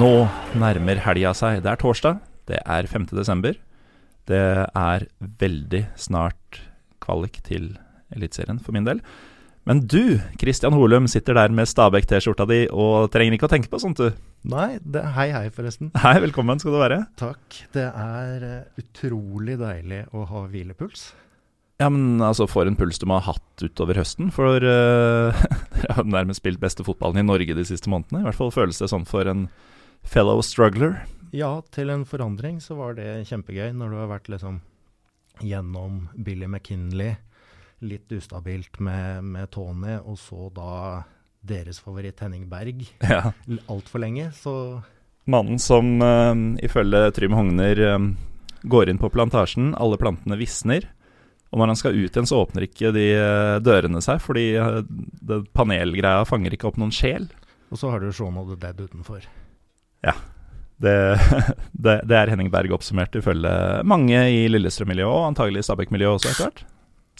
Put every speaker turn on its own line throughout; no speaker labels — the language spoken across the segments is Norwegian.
Nå nærmer helga seg. Det er torsdag, det er 5. desember. Det er veldig snart kvalik til Eliteserien for min del. Men du, Christian Holum, sitter der med Stabæk-T-skjorta di og trenger ikke å tenke på sånt, du.
Nei, det, hei hei forresten.
Hei, velkommen skal du være.
Takk. Det er eh, utrolig deilig å ha hvilepuls.
Ja, men altså, for en puls du må ha hatt utover høsten. For eh, dere har nærmest spilt beste fotballen i Norge de siste månedene. I hvert fall føles det sånn for en fellow struggler.
Ja, til en forandring så var det kjempegøy når du har vært liksom gjennom Billy McKinley, litt ustabilt med, med Tony, og så da deres favoritt Henning Berg
Ja.
altfor lenge, så
Mannen som eh, ifølge Trym Hogner eh, går inn på plantasjen, alle plantene visner. Og når han skal ut igjen, så åpner ikke de eh, dørene seg, fordi eh, det panelgreia fanger ikke opp noen sjel.
Og så har du Shaun of the Dead utenfor.
Det, det, det er Henning Berg oppsummert ifølge mange i Lillestrøm-miljøet, og antagelig i Stabæk-miljøet også, etter hvert.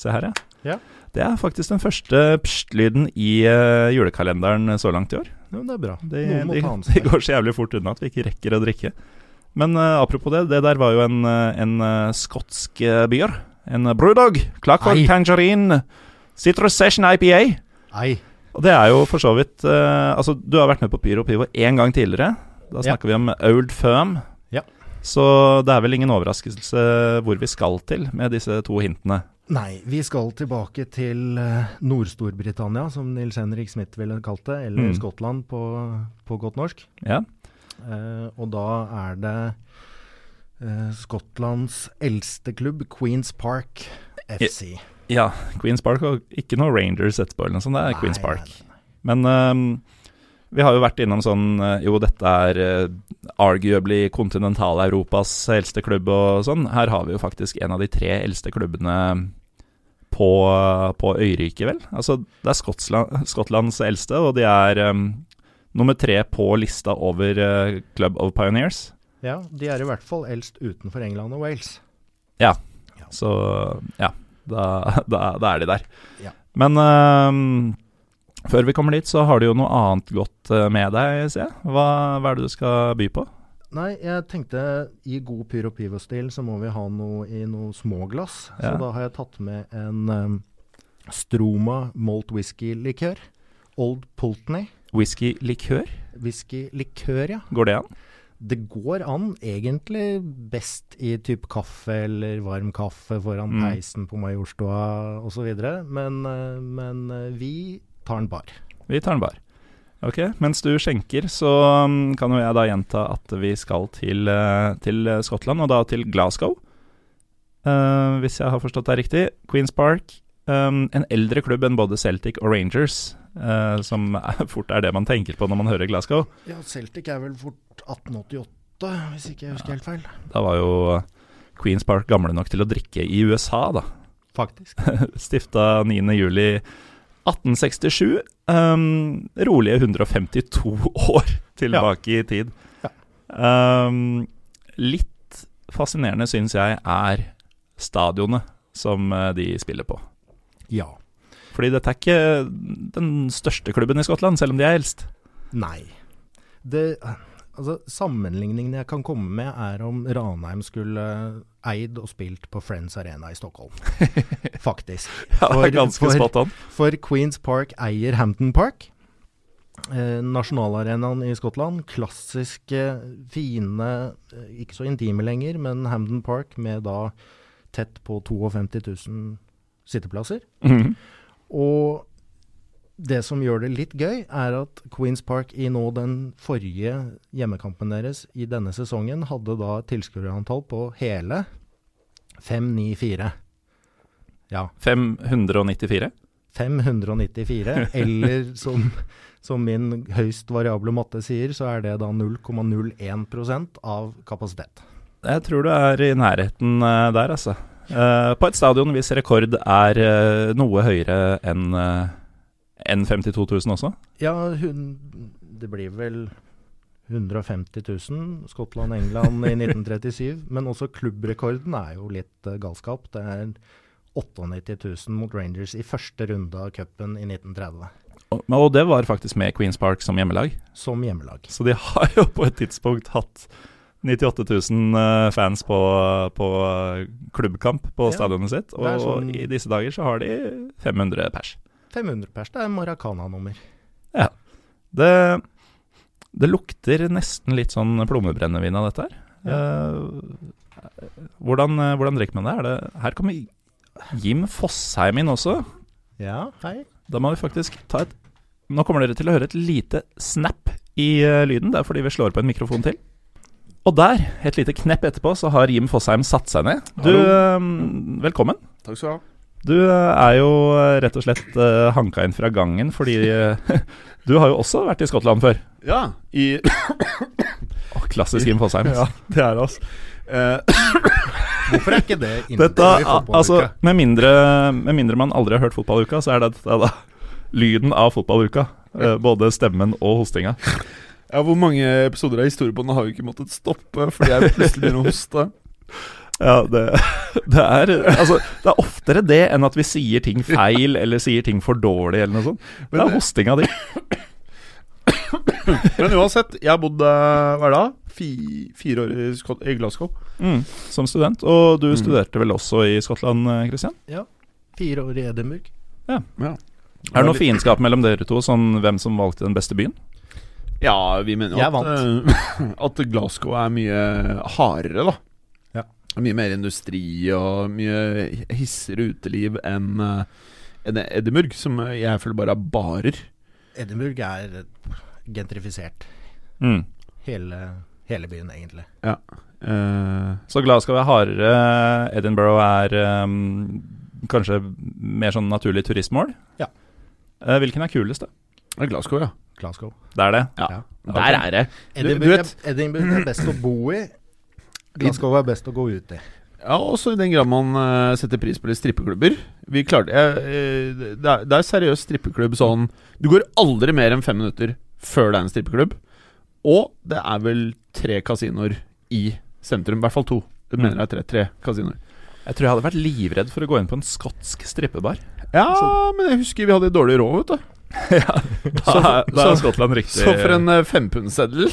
Se her,
Ja.
Det er faktisk den første pst-lyden i eh, julekalenderen så langt i år.
Jo, det er bra.
Det,
Noen må
det,
ta ansvar.
det går så jævlig fort unna at vi ikke rekker å drikke. Men eh, apropos det, det der var jo en, eh, en eh, skotsk uh, bier. En uh, brewdog. Clarkford
Ei.
Tangerine Citrus Session IPA.
Nei,
Og det er jo for så vidt eh, Altså, du har vært med på Pyro Pivo én gang tidligere. Da
Ja.
snakker vi om Old Firm.
Ja.
Så det er vel ingen overraskelse hvor vi skal til med disse to hintene.
Nei, vi skal tilbake til eh, Nord-Storbritannia, som Nils Henrik Smith ville kalt det, eller
Mm.
Skottland på, på godt norsk.
Ja.
Eh, og da er det eh, Skottlands eldste klubb, Queens Park FC.
ja. Queens Park og ikke noe Rangers etterpå eller noe sånt. Det er Queens
Nei,
Park.
nei, nei.
Men ehm, vi har jo vært innom sånn eh, Jo, dette er eh, arguably kontinental-Europas eldste klubb og sånn. Her har vi jo faktisk en av de tre eldste klubbene på, på øyriket, vel. Altså, det er Skottland, Skottlands eldste, og de er ehm, nummer tre på lista over eh, Club of Pioneers.
Ja, de er i hvert fall eldst utenfor England og Wales.
Så ja, da, da, da er de der.
Ja.
Men ehm, før vi kommer dit, så har du jo noe annet godt eh, med deg, ser jeg. Hva, hva er det du skal by på?
Nei, jeg tenkte i god Pyro Pivo-stil så må vi ha noe i noe småglass.
Ja.
Så da har jeg tatt med en um, Stroma malt whisky-likør. Old Pulteney.
Whisky-likør,
Whisky-likør, ja.
går det an?
Det går an, egentlig best i type kaffe eller varm kaffe foran
Mm.
peisen på Majorstua osv., men, eh, men eh, vi tar den bar.
Vi tar den bar. Ok, Mens du skjenker, så mm, kan jo jeg da gjenta at vi skal til, eh, til eh, Skottland, og da til Glasgow. Eh, hvis jeg har forstått det riktig. Queens Park. em, en eldre klubb enn både Celtic og Rangers, eh, som er, fort er det man tenker på når man hører Glasgow.
Ja, Celtic er vel fort 1888, hvis ikke jeg husker helt feil.
Da var jo Queens Park gamle nok til å drikke i USA, da.
Faktisk.
Stifta 9. juli 1867. Um, rolige 152 år tilbake i tid. Um, litt fascinerende syns jeg er stadionet som eh, de spiller på.
Ja.
Fordi dette er ikke den største klubben i Skottland, selv om de er eldst.
Nei. Det, altså, sammenligningen jeg kan komme med, er om Ranheim skulle eid og spilt på Friends Arena i Stockholm. Faktisk.
Ja, det
For-
er ganske
for-
spot on.
For Queens Park eier Hampton Park. Eh, nasjonalarenaen i Skottland. Klassiske, fine, eh, ikke så intime lenger, men Hampton Park med da tett på 52 000 sitteplasser.
Mhm.
Og det som gjør det litt gøy, er at Queens Park i nå den forrige hjemmekampen deres i denne sesongen hadde da et tilskuerantall på hele 594. Ja,
594.
594. Eller som, som min høyst variable matte sier, så er det da 0,01 av kapasitet.
Jeg tror du er i nærheten eh, der, altså. Eh, på et stadion hvis rekord er eh, noe høyere enn eh, enn 52 000 også.
Ja, hun, det blir vel 150 000. Skottland, England i 1937. Men også klubbrekorden er jo litt eh, galskap. Det er 98 000 mot Rangers i første runde av cupen i 1930.
Og, og det var faktisk med Queens Park som hjemmelag.
som hjemmelag.
Så de har jo på et tidspunkt hatt 98 000 eh, fans på, på eh, klubbkamp på
Ja,
stadionet sitt. Og
det er sånn-
i disse dager så har de 500 pers.
500 pers, det er Maracana-nummer.
Det, det lukter nesten litt sånn plommebrennevin av dette her. Eh, hvordan, eh, hvordan drikker man det? Er det her kommer Jim Fosheim inn også.
Ja, hei.
Da må vi faktisk ta et Nå kommer dere til å høre et lite snap i eh, lyden. Det er fordi vi slår på en mikrofon til. Og der, et lite knepp etterpå, så har Jim Fosheim satt seg ned. Du, eh, velkommen.
Takk skal du ha.
Du eh, er jo eh, rett og slett eh, hanka inn fra gangen fordi eh, du har jo også vært i Skottland før.
Ja, i
Å, klassisk Jim Fosheim.
Ja, det er det, altså. Eh,
Hvorfor er ikke det
Dette,
inntatt i
al- altså,
fotballuka?
med mindre, med mindre man aldri har hørt fotballuka, så er det dette da lyden av fotballuka. Eh, Både stemmen og hostinga.
ja, hvor mange episoder av historiebåndet har vi ikke måttet stoppe fordi jeg plutselig begynner å hoste?
Ja, det, det, er, altså, det er oftere det enn at vi sier ting feil eller sier ting for dårlig eller noe sånt. Det er
Men,
hostinga di.
men uansett, jeg har bodd eh, hva er det da? Fi, fire år i, Skot i Glasgow.
Mm, som student. Og du
Mm.
studerte vel også i Skottland, eh, Christian?
Fire år i Edinburgh.
Er det noe fiendskap mellom dere to, sånn hvem som valgte den beste byen?
Ja, vi mener jo
Jeg
at, eh, at Glasgow er mye hardere, da.
Ja.
Mye mer industri og mye hissigere uteliv enn eh, enn Edinburgh, som jeg føler bare er barer.
Edinburgh er gentrifisert.
Mm.
Hele, hele byen, egentlig.
Eh,
Så glad skal være hardere. Edinburgh er eh, kanskje mer sånn naturlig turistmål.
Ja.
Eh, hvilken er kulest, da?
det er Glasgow, ja.
Glasgow.
Det er det.
Der er det.
Edinburgh,
vet-
er, Edinburgh er best å bo i. Glasgow er best å gå ut i.
Ja, også i den grad man eh, setter pris på litt strippeklubber. Vi klarte jeg, eh, det, er, det er seriøst strippeklubb sånn Du går aldri mer enn fem minutter før det er en strippeklubb. Og det er vel tre kasinoer i sentrum. I hvert fall to. Jeg mener det er tre, tre kasinoer.
Jeg tror jeg hadde vært livredd for å gå inn på en skotsk strippebar.
Ja, men jeg husker vi hadde dårlig råd, vet du.
Da, er- da er Skottland riktig
Så for en eh, fempundseddel.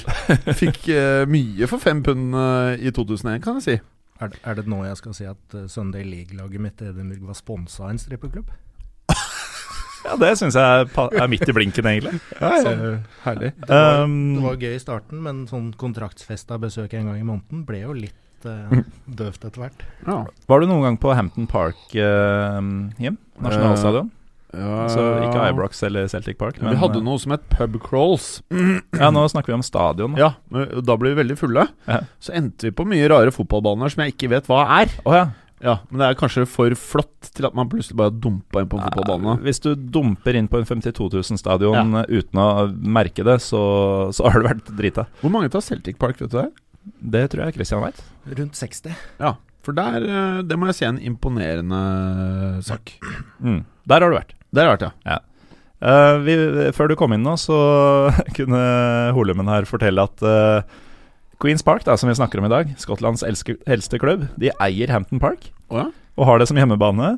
Fikk eh, mye for fem pund eh, i 2001, kan jeg si.
Er, er det nå jeg skal si at eh, Sunday League-laget mitt i Edinburgh var sponsa av en strippeklubb?
Ja, det syns jeg er pa- er midt i blinken, egentlig.
Sånn. herlig.
Det var,
Um,
det var gøy i starten, men sånn kontraktsfesta besøk en gang i måneden ble jo litt eh, døvt etter hvert.
Ja.
Var du noen gang på Hampton Park, eh, Jim? Nasjonalstadion? altså ikke Ibrox eller Celtic Park.
Eh, vi hadde
eh,
noe som het pub crawls.
Ja, nå snakker vi om stadion. da.
Ja, men da ble vi veldig fulle.
Ja.
Så endte vi på mye rare fotballbaner som jeg ikke vet hva er.
Å ja.
Ja, Men det er kanskje for flott til at man plutselig bare dumpa inn på en fotballbane.
Eh, Hvis du dumper inn på en 52 000-stadion eh, uten å merke det, så, så har du vært drita.
Hvor mange tar Celtic Park, vet du det?
Det tror jeg Christian veit.
Rundt 60.
Ja, for der, eh, det må jeg si er en imponerende sak.
Mm. Der har du vært.
Der har jeg vært, ja.
Eh, vi, før du kom inn nå, så kunne Holumen her fortelle at eh, Queens Park, da, som vi snakker om i dag, Skottlands elske, eldste klubb, de eier Hampton Park
Å
og har det som hjemmebane.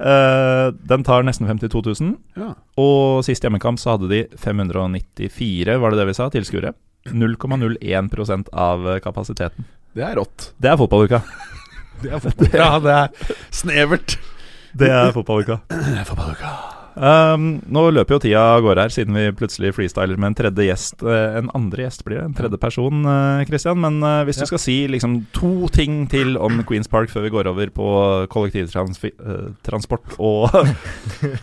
Eh, den tar nesten 52 000,
ja? ja.
og sist hjemmekamp så hadde de 594, var det det vi sa, tilskuere. 0,01 av eh, kapasiteten.
Det er rått.
Det er fotballuka.
Det er fotball. ja, det er snevert.
Det er fotballuka.
Fotballuka.
Um, nå løper jo tida av gårde her, siden vi plutselig freestyler med en tredje gjest. eh, en andre gjest blir det, en tredje person, eh, Christian. Men eh, hvis
Ja.
du skal si liksom to ting til om Queens Park før vi går over på kollektivtransport og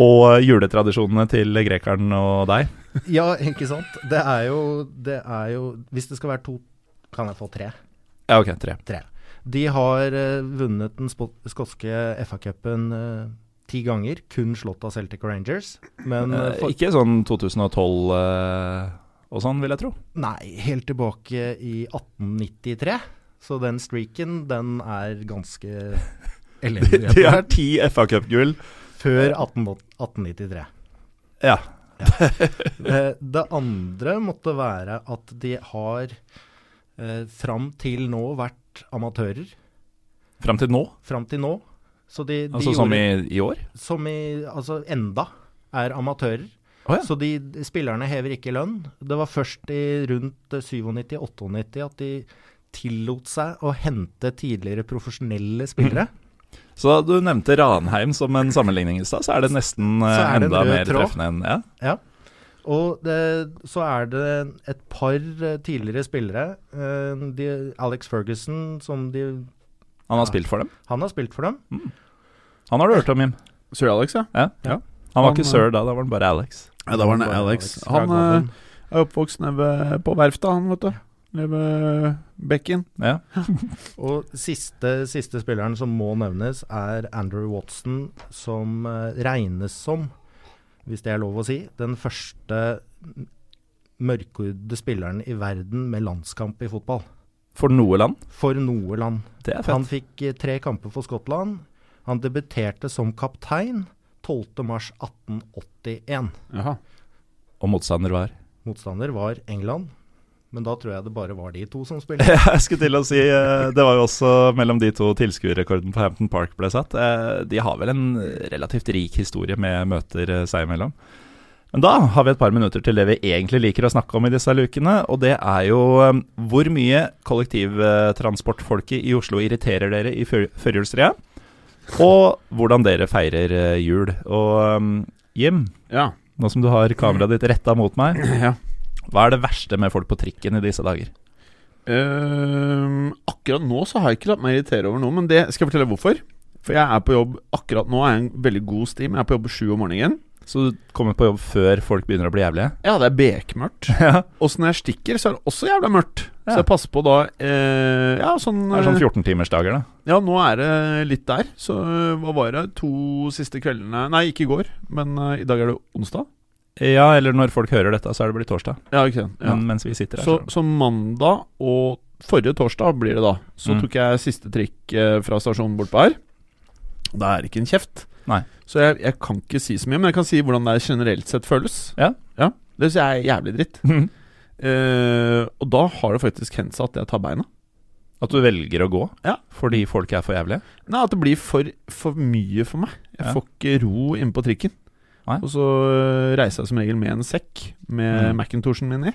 Og juletradisjonene til grekeren og deg.
Ja, ikke sant. Det er jo, det er jo Hvis det skal være to, kan jeg få tre.
Ja, ok, tre.
De har eh, vunnet den spo- skotske FA-cupen eh, ti ganger, kun slått av Celtic Rangers. Men eh,
Eh,
for,
ikke sånn 2012 eh, og sånn, vil jeg tro.
Nei, helt tilbake i 1893. Så den streaken, den er ganske elendig. etter hvert.
ti FA Cup-gull.
Før 18, 1893.
Ja.
Eh, Det andre måtte være at de har eh, fram til nå vært amatører.
Fram til nå,
Fram til nå. Så de, de
altså som Altså, i, i år.
Som i Altså enda. er amatører.
Å ja.
Så de, de spillerne hever ikke lønn. Det var først i rundt 97-98 at de tillot seg å hente tidligere profesjonelle spillere.
Mhm.
Så du nevnte Ranheim som en sammenligning i stad, så er det nesten eh,
Så er det en
enda
rød
mer
tråd.
treffende enn ja.
Og det, så er det et par eh, tidligere spillere. Eh, De, Alex Ferguson, som de
Han har
Ja.
spilt for dem. Mm.
Han har spilt for dem.
Han har du hørt om, Jim.
Sir Alex, ja.
Ja.
Ja.
Han var
Han,
ikke
eh,
sir da, da var han bare Alex.
ja da var det
Bare
Alex.
fra
Han
Goblin.
eh, er oppvokst nede ved- på verftet, han, vet du. Nede ved bekken.
Ja.
Og siste, siste spilleren som må nevnes, er Andrew Watson, som eh, regnes som, hvis det er lov å si, den første m- mørkhudede spilleren i verden med landskamp i fotball.
For noe land.
For noe land.
Det er
Han
fett.
fikk eh, tre kamper for Skottland. Han debuterte som kaptein 12.3.1881.
Jaha.
Og motstander var
Motstander var England, men da tror jeg det bare var de to som spilte.
Jeg skulle til å si eh, Det var jo også mellom de to tilskuerrekorden på Hampton Park ble satt. Eh, De har vel en relativt rik historie med møter eh, seg imellom. Men da har vi et par minutter til det vi egentlig liker å snakke om i disse lukene, og det er jo eh, hvor mye kollektivtransportfolket i Oslo irriterer dere i før- førjulstrea, og hvordan dere feirer eh, jul. Og eh, Jim,
Ja.
nå som du har kameraet ditt retta mot meg,
ja.
hva er det verste med folk på trikken i disse dager?
Ehm, akkurat nå så har jeg ikke latt meg irritere over noe, men det skal jeg fortelle hvorfor. For jeg er på jobb akkurat nå, er jeg en veldig god stim. Jeg er på jobb sju om morgenen.
Så du kommer på jobb før folk begynner å bli jævlige?
Ja, det er bekmørkt.
Ja,
Og så når jeg stikker, så er det også jævla mørkt.
Ja.
Så jeg passer på da eh, Ja, sånn,
det er sånn 14-timersdager, da.
Ja, nå er det litt der. Så eh, hva var det? To siste kveldene Nei, ikke i går, men eh, i dag er det onsdag.
Ja, eller når folk hører dette, så er det blitt torsdag.
Ja, ikke sant. Ja.
Men mens vi sitter her,
Så, så mandag og forrige torsdag blir det da. Så
Mm.
tok jeg siste trikk eh, fra stasjonen bortpå her. Da er det ikke en kjeft.
Nei.
Så jeg, jeg kan ikke si så mye, men jeg kan si hvordan det generelt sett føles.
Ja.
Det syns jeg er jævlig dritt.
så
Eh, og da har det faktisk hendt seg at jeg tar beina.
At du velger å gå
Ja.
fordi folk er for jævlige.
Nei, at det blir for, for mye for meg. Jeg
Ja.
får ikke ro inne på trikken.
Nei.
Og så øh, reiser jeg som regel med en sekk med
Mm.
Macintoshen min i.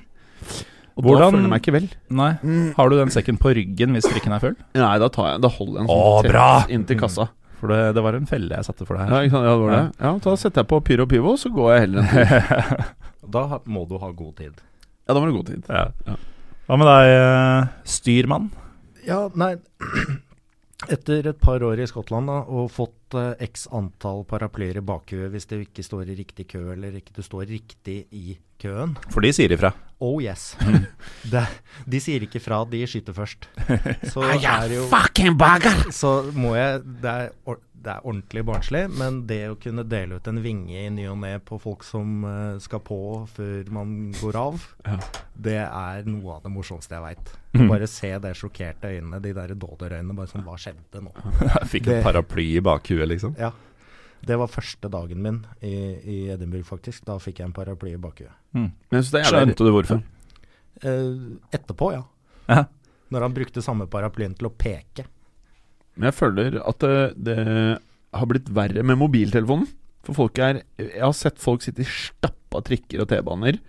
Og
Hvordan- Mm.
da føler jeg meg ikke vel.
Nei. Har du den sekken på ryggen hvis trikken er full?
Nei, da, tar jeg, da holder jeg en
Å,
sånn
bra!
tett inntil kassa.
For det, det var en felle jeg satte for deg
Ja, ikke sant? Ja, det var det. ja, Da setter jeg på Pyro Pivo, så går jeg heller en tur.
her.
Da ha- må du ha god tid.
Ja, da var det god tid.
Ja.
Ja.
Hva med deg, eh, styrmann?
Ja, nei Etter et par år i Skottland da, og fått eh, x antall paraplyer i bakhuet hvis det ikke står i riktig kø, eller ikke det står riktig i køen
For de sier ifra.
Oh yes! Det, de sier ikke fra, de skyter først. Så er det jo
fucking bagger!
Så må jeg det er, or- det er ordentlig barnslig, men det å kunne dele ut en vinge i ny og ne på folk som eh, skal på før man går av,
Ja.
det er noe av det morsomste jeg veit.
Mm.
Bare se det sjokkerte øynene, de der dåderøynene. Bare sånn, hva skjedde nå?
Jeg fikk et
Det-
paraply i bakhuet, liksom.
Ja. Det var første dagen min i, i Edinburgh, faktisk. Da fikk jeg en paraply i bakhuet.
Men jeg synes det er jævlig
Skjønte du hvorfor?
Eh, etterpå, ja.
Ja.
Når han brukte samme paraplyen til å peke.
Men jeg føler at det, det har blitt verre med mobiltelefonen. For folk er Jeg har sett folk sitte i stappa trikker og T-baner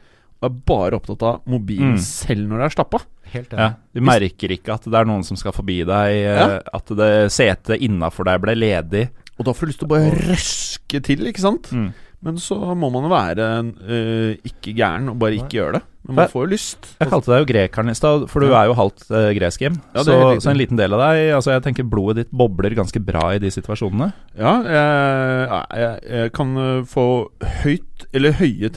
og er bare opptatt av mobilen
Mm.
selv når det er stappa.
Helt
Ja,
enig.
du merker ikke at det er noen som skal forbi deg, eh,
Ja.
at det setet innafor deg ble ledig.
Og da får du lyst til å bare røske til, ikke sant?
Mm.
Men så må man jo være eh, ikke gæren og bare ikke gjøre det. Men
Nei.
man får jo lyst.
Jeg kalte deg jo grekeren i stad, for du
Ja.
er jo halvt eh, gresk, Jim.
Ja, det
så,
er helt riktig.
så en liten del av deg Altså, jeg tenker blodet ditt bobler ganske bra i de situasjonene.
Ja, jeg, jeg, jeg kan eh, få høyt eller høye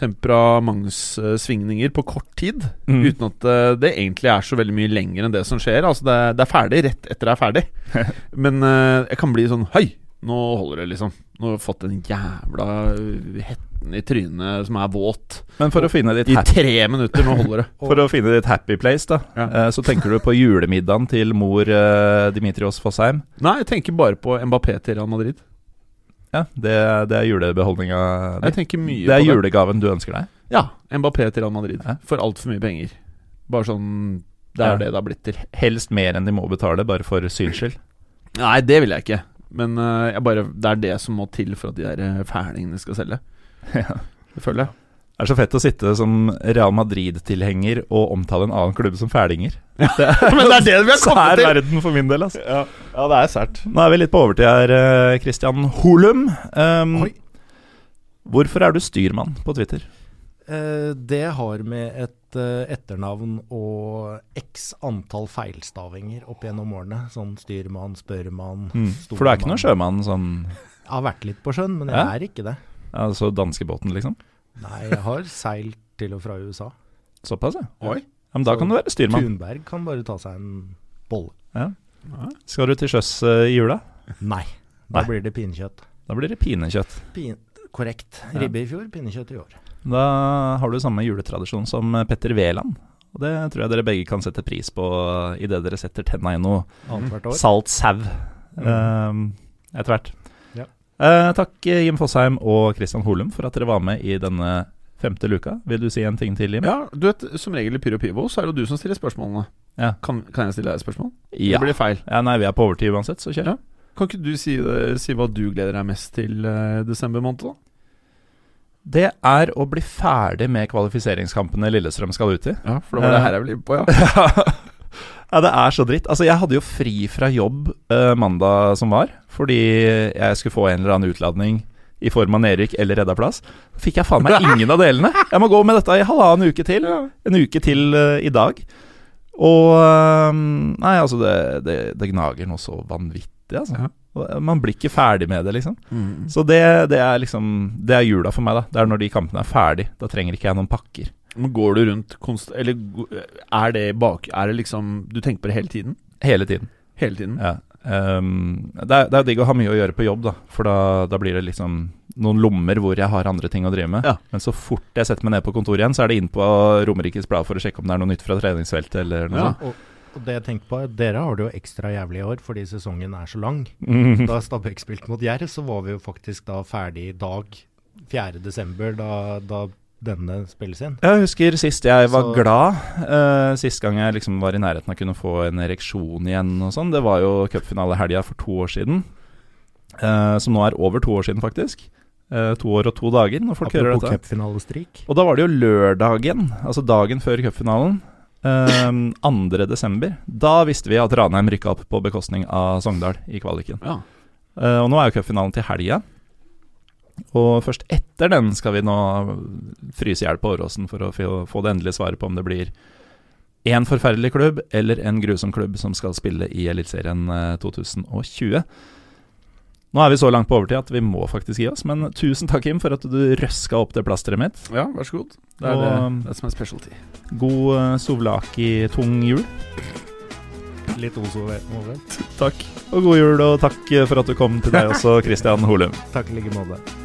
temperamentssvingninger på kort tid.
Mm.
Uten at eh, det egentlig er så veldig mye lenger enn det som skjer. Altså Det, er- det er ferdig rett etter det er ferdig. Men eh, jeg kan bli sånn Hei, nå holder det, liksom. Nå har jeg fått den jævla eh, hetten i trynet som er våt.
Men for å finne ditt,
I
hap-
tre minutter, nå holder det.
for å finne ditt happy place, da,
Ja.
eh, så tenker du på julemiddagen til mor eh, Dimitrios Fosheim.
Nei, jeg tenker bare på Mbappé til Real Madrid.
Ja, det, det er julebeholdninga di.
Jeg tenker mye
Det er
på det.
julegaven du ønsker deg.
Ja, Mbappé til Real Madrid.
Ja.
For altfor mye penger. Bare sånn Det er
Ja.
det det har blitt til.
Helst mer enn de må betale, bare for syns skyld.
Nei, det vil jeg ikke. Men eh, jeg bare, det er det som må til for at de der eh, fælingene skal selge.
Ja.
Det føler jeg.
Det er så fett å sitte som Real Madrid-tilhenger og omtale en annen klubb som fælinger. Det er,
Men det er det vi har
så
kommet
er
til!
verden for min del, altså.
Ja. ja, det er sært.
Nå er vi litt på overtid her, eh, Christian Holum. Um,
Oi.
hvorfor er du styrmann på Twitter?
Eh, det har med et eh, etternavn og x antall feilstavinger opp gjennom årene. Sånn styrmann, spørrmann,
Hmm. For du er ikke noen sjømann sånn
Jeg har vært litt på sjøen, men jeg
Ja?
er ikke det.
Altså danskebåten, liksom?
Nei, jeg har seilt til og fra USA.
Såpass, ja.
Oi.
ja men da kan du være styrmann.
Thunberg kan bare ta seg en bolle.
Skal du til sjøs eh, i jula?
Nei, da
Nei.
blir det pinnekjøtt.
Da blir det pinekjøtt.
Pin korrekt.
Ja.
Ribbe i fjor, pinnekjøtt i år.
Da har du samme juletradisjon som eh, Petter Wæland. Og det tror jeg dere begge kan sette pris på eh, idet dere setter tenna i noe
Annethvert år.
salt sau eh, etter hvert.
Ja.
Eh, takk eh, Jim Fosheim og Christian Holum for at dere var med i denne femte luka. Vil du si en ting til, Jim?
Ja, du vet, Som regel i Pyro Pivo så er det jo du som stiller spørsmålene.
Ja.
Kan, kan jeg stille deg et spørsmål?
Ja.
Det blir feil.
ja. Nei, vi er på overtid uansett, så kjør.
Ja. Kan ikke du si, det, si hva du gleder deg mest til eh, desember måned, da?
Det er å bli ferdig med kvalifiseringskampene Lillestrøm skal ut i.
Ja, For det var det
Eh.
her jeg ville inn på, ja.
ja, det er så dritt. Altså, jeg hadde jo fri fra jobb eh, mandag som var, fordi jeg skulle få en eller annen utladning i form av nedrykk eller redda plass. Fikk jeg faen meg ingen av delene. Jeg må gå med dette i halvannen uke til. En uke til eh, i dag. Og eh, Nei, altså, det, det, det gnager noe så vanvittig, altså.
Ja.
Og Man blir ikke ferdig med det, liksom.
Mm.
Så det, det er liksom Det er jula for meg, da. Det er når de kampene er ferdig. Da trenger ikke jeg noen pakker.
Men går du rundt konst... Eller go- eh, er det bak... Er det liksom Du tenker på det hele tiden?
Hele tiden.
Hele
Mm.
tiden?
Ja. ehm, det, er, det er jo digg å ha mye å gjøre på jobb, da. For da, da blir det liksom noen lommer hvor jeg har andre ting å drive med.
Ja.
Men så fort jeg setter meg ned på kontoret igjen, så er det inn på Romerikes Blad for å sjekke om det er noe nytt fra treningsfeltet eller noe
Ja.
sånt.
Og, og det jeg tenker på, er at dere har det jo ekstra jævlig i år fordi sesongen er så lang.
Mhm.
Da Stabæk spilte mot Jerv, så var vi jo faktisk da ferdig i dag, 4.12., da, da denne spilles inn.
Jeg husker sist jeg var
Så-
glad. eh, sist gang jeg liksom var i nærheten av å kunne få en ereksjon igjen og sånn. Det var jo cupfinalehelga for to år siden. eh, som nå er over to år siden, faktisk. Eh, to år og to dager, når folk hører
Apropos
dette.
cupfinalestrik.
Og da var det jo lørdagen, altså dagen før cupfinalen, ehm, 2. desember. Da visste vi at Ranheim rykka opp på bekostning av Sogndal i kvaliken.
Ja.
Eh, og nå er jo cupfinalen til helga. Og først etter den skal vi nå fryse i hjel på Åråsen for å fi- få det endelige svaret på om det blir én forferdelig klubb eller en grusom klubb som skal spille i Eliteserien eh, 2020. Nå er vi så langt på overtid at vi må faktisk gi oss, men tusen takk, Kim, for at du røska opp det plasteret mitt.
ja, vær så god. Det er
Og,
det,
um,
det som er specialty.
God eh, souvlaki-tung jul.
Litt osoverent.
Takk. Og god jul, og takk eh, for at du kom til deg også, Christian Holum.
Takk i like måte.